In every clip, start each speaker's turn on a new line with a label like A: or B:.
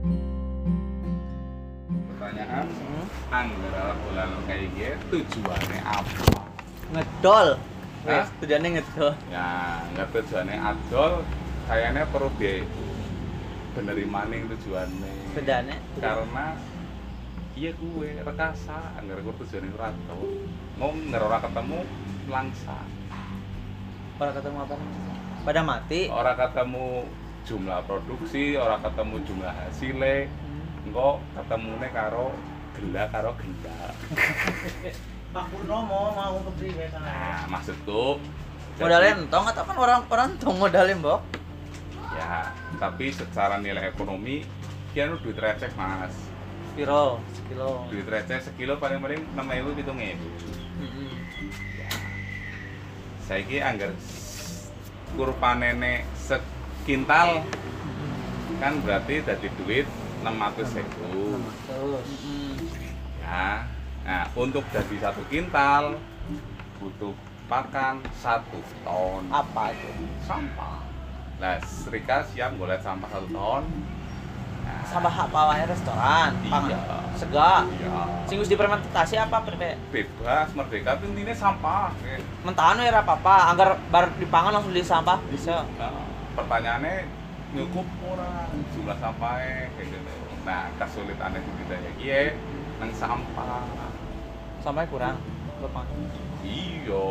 A: Hmm.
B: anggar arah dolanan kayak gitu tujuannya apa
A: ngedol
B: Hah?
A: wes tujuannya ngedol
B: ya nggak tujuannya adol kayaknya perlu biaya itu bener maning tujuannya
A: tujuannya
B: karena iya gue rekasa anggar gue tujuannya ora tau mau nggak ora ketemu langsa
A: orang ketemu apa pada mati
B: orang ketemu jumlah produksi orang ketemu jumlah hasilnya
C: Hmm.
B: engko ketemunya karo gela karo gela
C: Pak Purnomo mau kepriwe sana.
B: nah maksudku
A: modalnya
B: jadi-
A: entong atau kan orang orang entong modalnya mbok
B: ya tapi secara nilai ekonomi kian duit receh mas
A: kilo sekilo
B: duit receh sekilo paling paling enam ewu gitu
A: Mm-mm.
B: saya ki anggar kurva nenek sekintal
C: Hmm.
B: kan berarti dari duit 600 ewu
C: Terus.
A: Mm-mm.
B: ya nah untuk jadi satu kintal butuh pakan satu ton
A: apa itu
B: sampah nah Rika siap golek sampah satu ton Nah,
A: sampah apa wae restoran
B: Iya.
A: pangan sega
B: iya
A: singgus dipermentasi apa perpe
B: bebas merdeka tapi intinya sampah ya.
A: mentahan wae ora apa-apa anggar bar dipangan langsung di sampah bisa
B: Nah, pertanyaannya cukup orang jumlah sampahnya kayak gitu nah kesulitannya itu kita ya iya nang sampah
A: sampai kurang
C: Hmm.
A: Bapak.
B: iya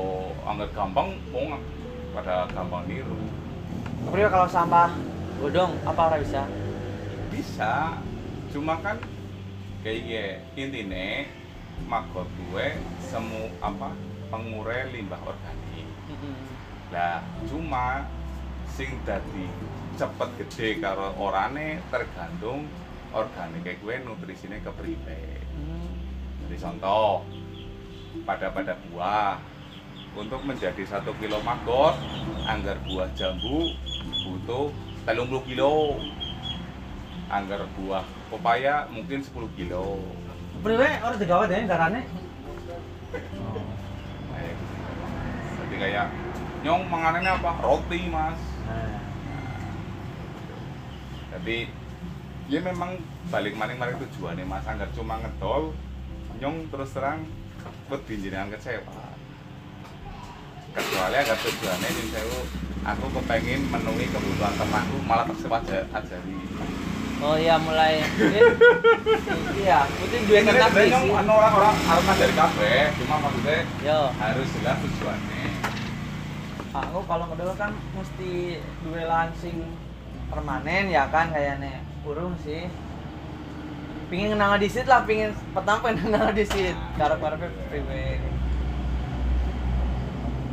B: anggar gampang wong pada gampang niru
A: Tapi kalau sampah godong apa ora bisa
B: bisa cuma kan kayak iya intinya magot gue semu apa pengurai limbah organik
A: Mm-mm.
B: Lah, cuma sing dadi cepet gede karo orane tergantung organiknya gue nutrisine kepriwe.
A: Mm.
B: Jadi contoh pada pada buah untuk menjadi satu kilo magot anggar buah jambu butuh 30 kilo anggar buah pepaya mungkin 10 kilo
C: Kepriwe orang digawe dene darane.
A: Oh.
B: Baik. jadi kayak nyong manganannya apa roti mas Jadi ya memang balik maning maning tujuannya mas anggar cuma ngedol nyong terus terang wedi jenengan kecewa. Kecuali agar tujuannya jeng sewu aku kepengin menuhi kebutuhan temanku malah tersewa aja ajari.
A: oh iya mulai iya itu dua
B: Sebenarnya
A: kena
B: sebenarnya nyong
A: sih
B: anu orang orang harus dari kafe cuma maksudnya
A: yo
B: harus jelas tujuannya.
A: aku kalau ngedol kan mesti duwe lancing permanen ya kan kayaknya burung sih pingin kenal disit lah pingin petang pengen kenal disit karep karep priwe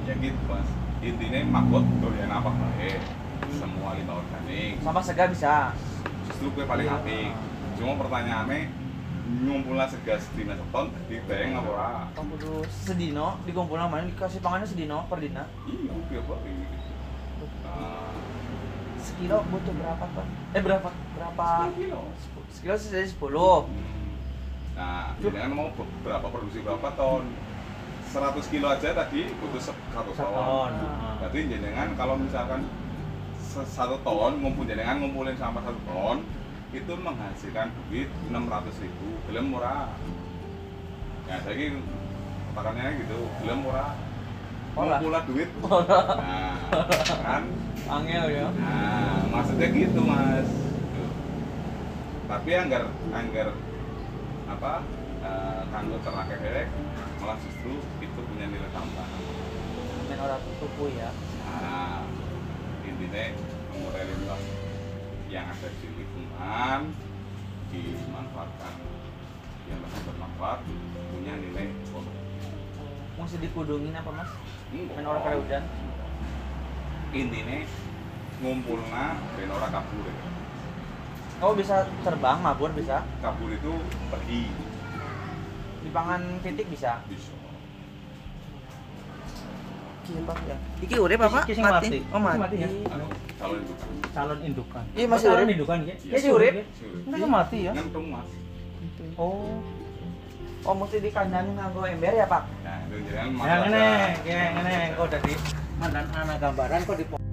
B: Ya gitu mas. Intinya makot doyan apa baik semua lima organik
A: sama sega bisa
B: justru gue paling apik cuma pertanyaannya ngumpulnya segas di seton di bayang apa ora
A: aku kudu sedino dikumpul mana dikasih pangannya sedino per dina
B: iya gue beli Ah,
A: sekilo butuh berapa pak eh berapa berapa
B: kilo
A: sekilo sih jadi sepuluh
B: nah jangan mau ber- berapa produksi berapa ton 100 kilo aja tadi butuh se- satu ton
A: ton
B: berarti jenengan kalau misalkan se- satu ton ngumpul jenengan ngumpulin sama satu ton itu menghasilkan duit 600 ribu belum murah ya saya katakannya gitu belum murah
A: Ora.
B: ngumpulin duit nah kan
A: angel ya
B: nah maksudnya gitu mas Tuh. tapi anggar anggar apa eh, kanggo ternak efek malah justru itu punya nilai tambahan
A: main orang tuku ya
B: Nah, intinya mengurai limbah yang ada di lingkungan dimanfaatkan yang lebih bermanfaat punya nilai ekonomi.
A: mesti dikudungin apa mas
B: Enggak.
A: main orang kayak hujan
B: Intinya ngumpulna ben ora kabur. ya.
A: Oh bisa terbang, mabur bisa.
B: Kabur itu pergi
A: Di pangan titik bisa.
B: bisa.
A: ya. Iki urip apa?
C: Iki sing mati.
A: Oh mati.
C: Mati ya?
B: Anu, calon itu kan.
C: Calon indukan.
A: Iya, masih
C: Oh, calon
A: urip.
C: indukan ya.
B: Iya,
A: masih urip.
C: Ini kan mati ya.
B: Ngentung mas.
C: Oh.
A: Oh mesti dikandani nganggo ember ya pak?
B: Nah, itu jangan
C: Ya
B: masalah.
C: ngene, ya ngene kok dadi mandan anak gambaran kok di